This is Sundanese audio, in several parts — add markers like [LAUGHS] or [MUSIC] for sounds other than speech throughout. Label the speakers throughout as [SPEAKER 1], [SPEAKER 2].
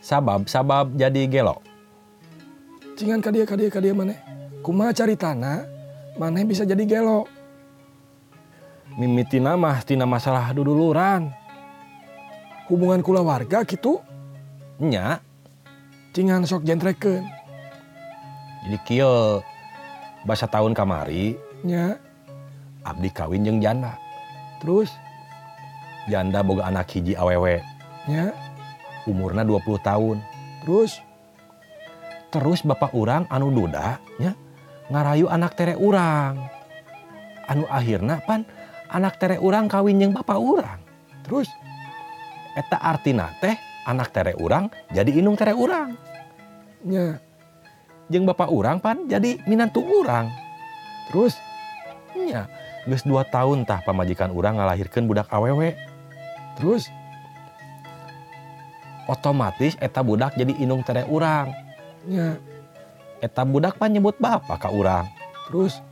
[SPEAKER 1] sabab sabab jadi gelo
[SPEAKER 2] Cingan ka dia ka dia ka dia maneh. Kumaha caritana maneh bisa jadi gelo.
[SPEAKER 1] mimiti nama tina masalah duduluran
[SPEAKER 2] Hubungan kula warga gitu
[SPEAKER 1] nya
[SPEAKER 2] cingan sok jentrekeun.
[SPEAKER 1] jadi kieu bahasa tahun kamari
[SPEAKER 2] Nya,
[SPEAKER 1] abdi kawin jeung janda
[SPEAKER 2] terus
[SPEAKER 1] janda boga anak hiji awewe
[SPEAKER 2] nya,
[SPEAKER 1] umurna 20 tahun
[SPEAKER 2] terus
[SPEAKER 1] terus bapak urang anu duda nya ngarayu anak tere urang anu akhirna pan anak tere urang kawin jeung bapak urang
[SPEAKER 2] terus
[SPEAKER 1] eta artina teh anak tere urang jadi inung tere urang
[SPEAKER 2] nya,
[SPEAKER 1] jeung bapak urang pan jadi minantu urang
[SPEAKER 2] terus
[SPEAKER 1] nya geus 2 tahun tah pamajikan urang ngalahirkeun budak awewe
[SPEAKER 2] terus
[SPEAKER 1] otomatis eta budak jadi inung tere urang
[SPEAKER 2] nya,
[SPEAKER 1] eta budak pan nyebut bapak ka urang
[SPEAKER 2] terus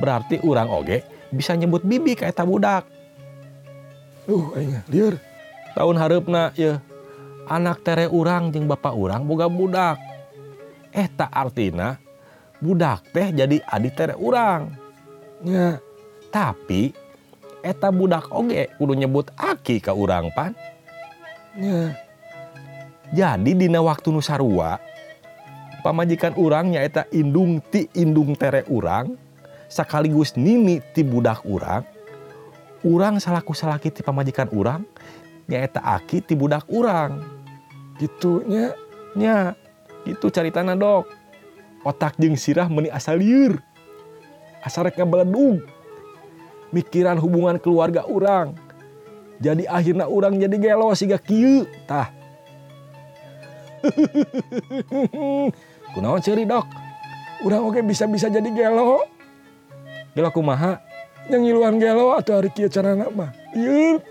[SPEAKER 1] berarti urang oge bisa nyebut bibi ka eta budak
[SPEAKER 2] uh aing lieur.
[SPEAKER 1] tahun harapna ya anak tere urang jeung bapak urang boga budak eh tak artina budak teh jadi adik tere urang
[SPEAKER 2] Nya,
[SPEAKER 1] tapi eta budak oge kudu nyebut aki ka urang pan
[SPEAKER 2] nya,
[SPEAKER 1] jadi dina waktu nusarua pamajikan urangnya eta indung ti indung tere urang sekaligus nini ti budak urang urang salaku salaki ti pamajikan urang nyaeta aki ti budak urang
[SPEAKER 2] gitu nya.
[SPEAKER 1] nya itu caritana dok otak jeung sirah meni asal liur asal rek ngebeledug mikiran hubungan keluarga urang jadi akhirnya urang jadi gelo siga kieu tah [LAUGHS] kunaon ceuri dok
[SPEAKER 2] Urang oke bisa-bisa jadi gelo.
[SPEAKER 1] gelo kumaha
[SPEAKER 2] Yang ngiluan gelo atau hari kieu carana mah. Ieu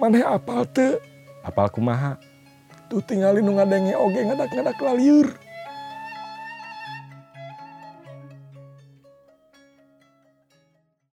[SPEAKER 2] maneh apal teu?
[SPEAKER 1] apal kumaha
[SPEAKER 2] Tuh tinggalin nu ngadenge oge ngadak-ngadak lalieur.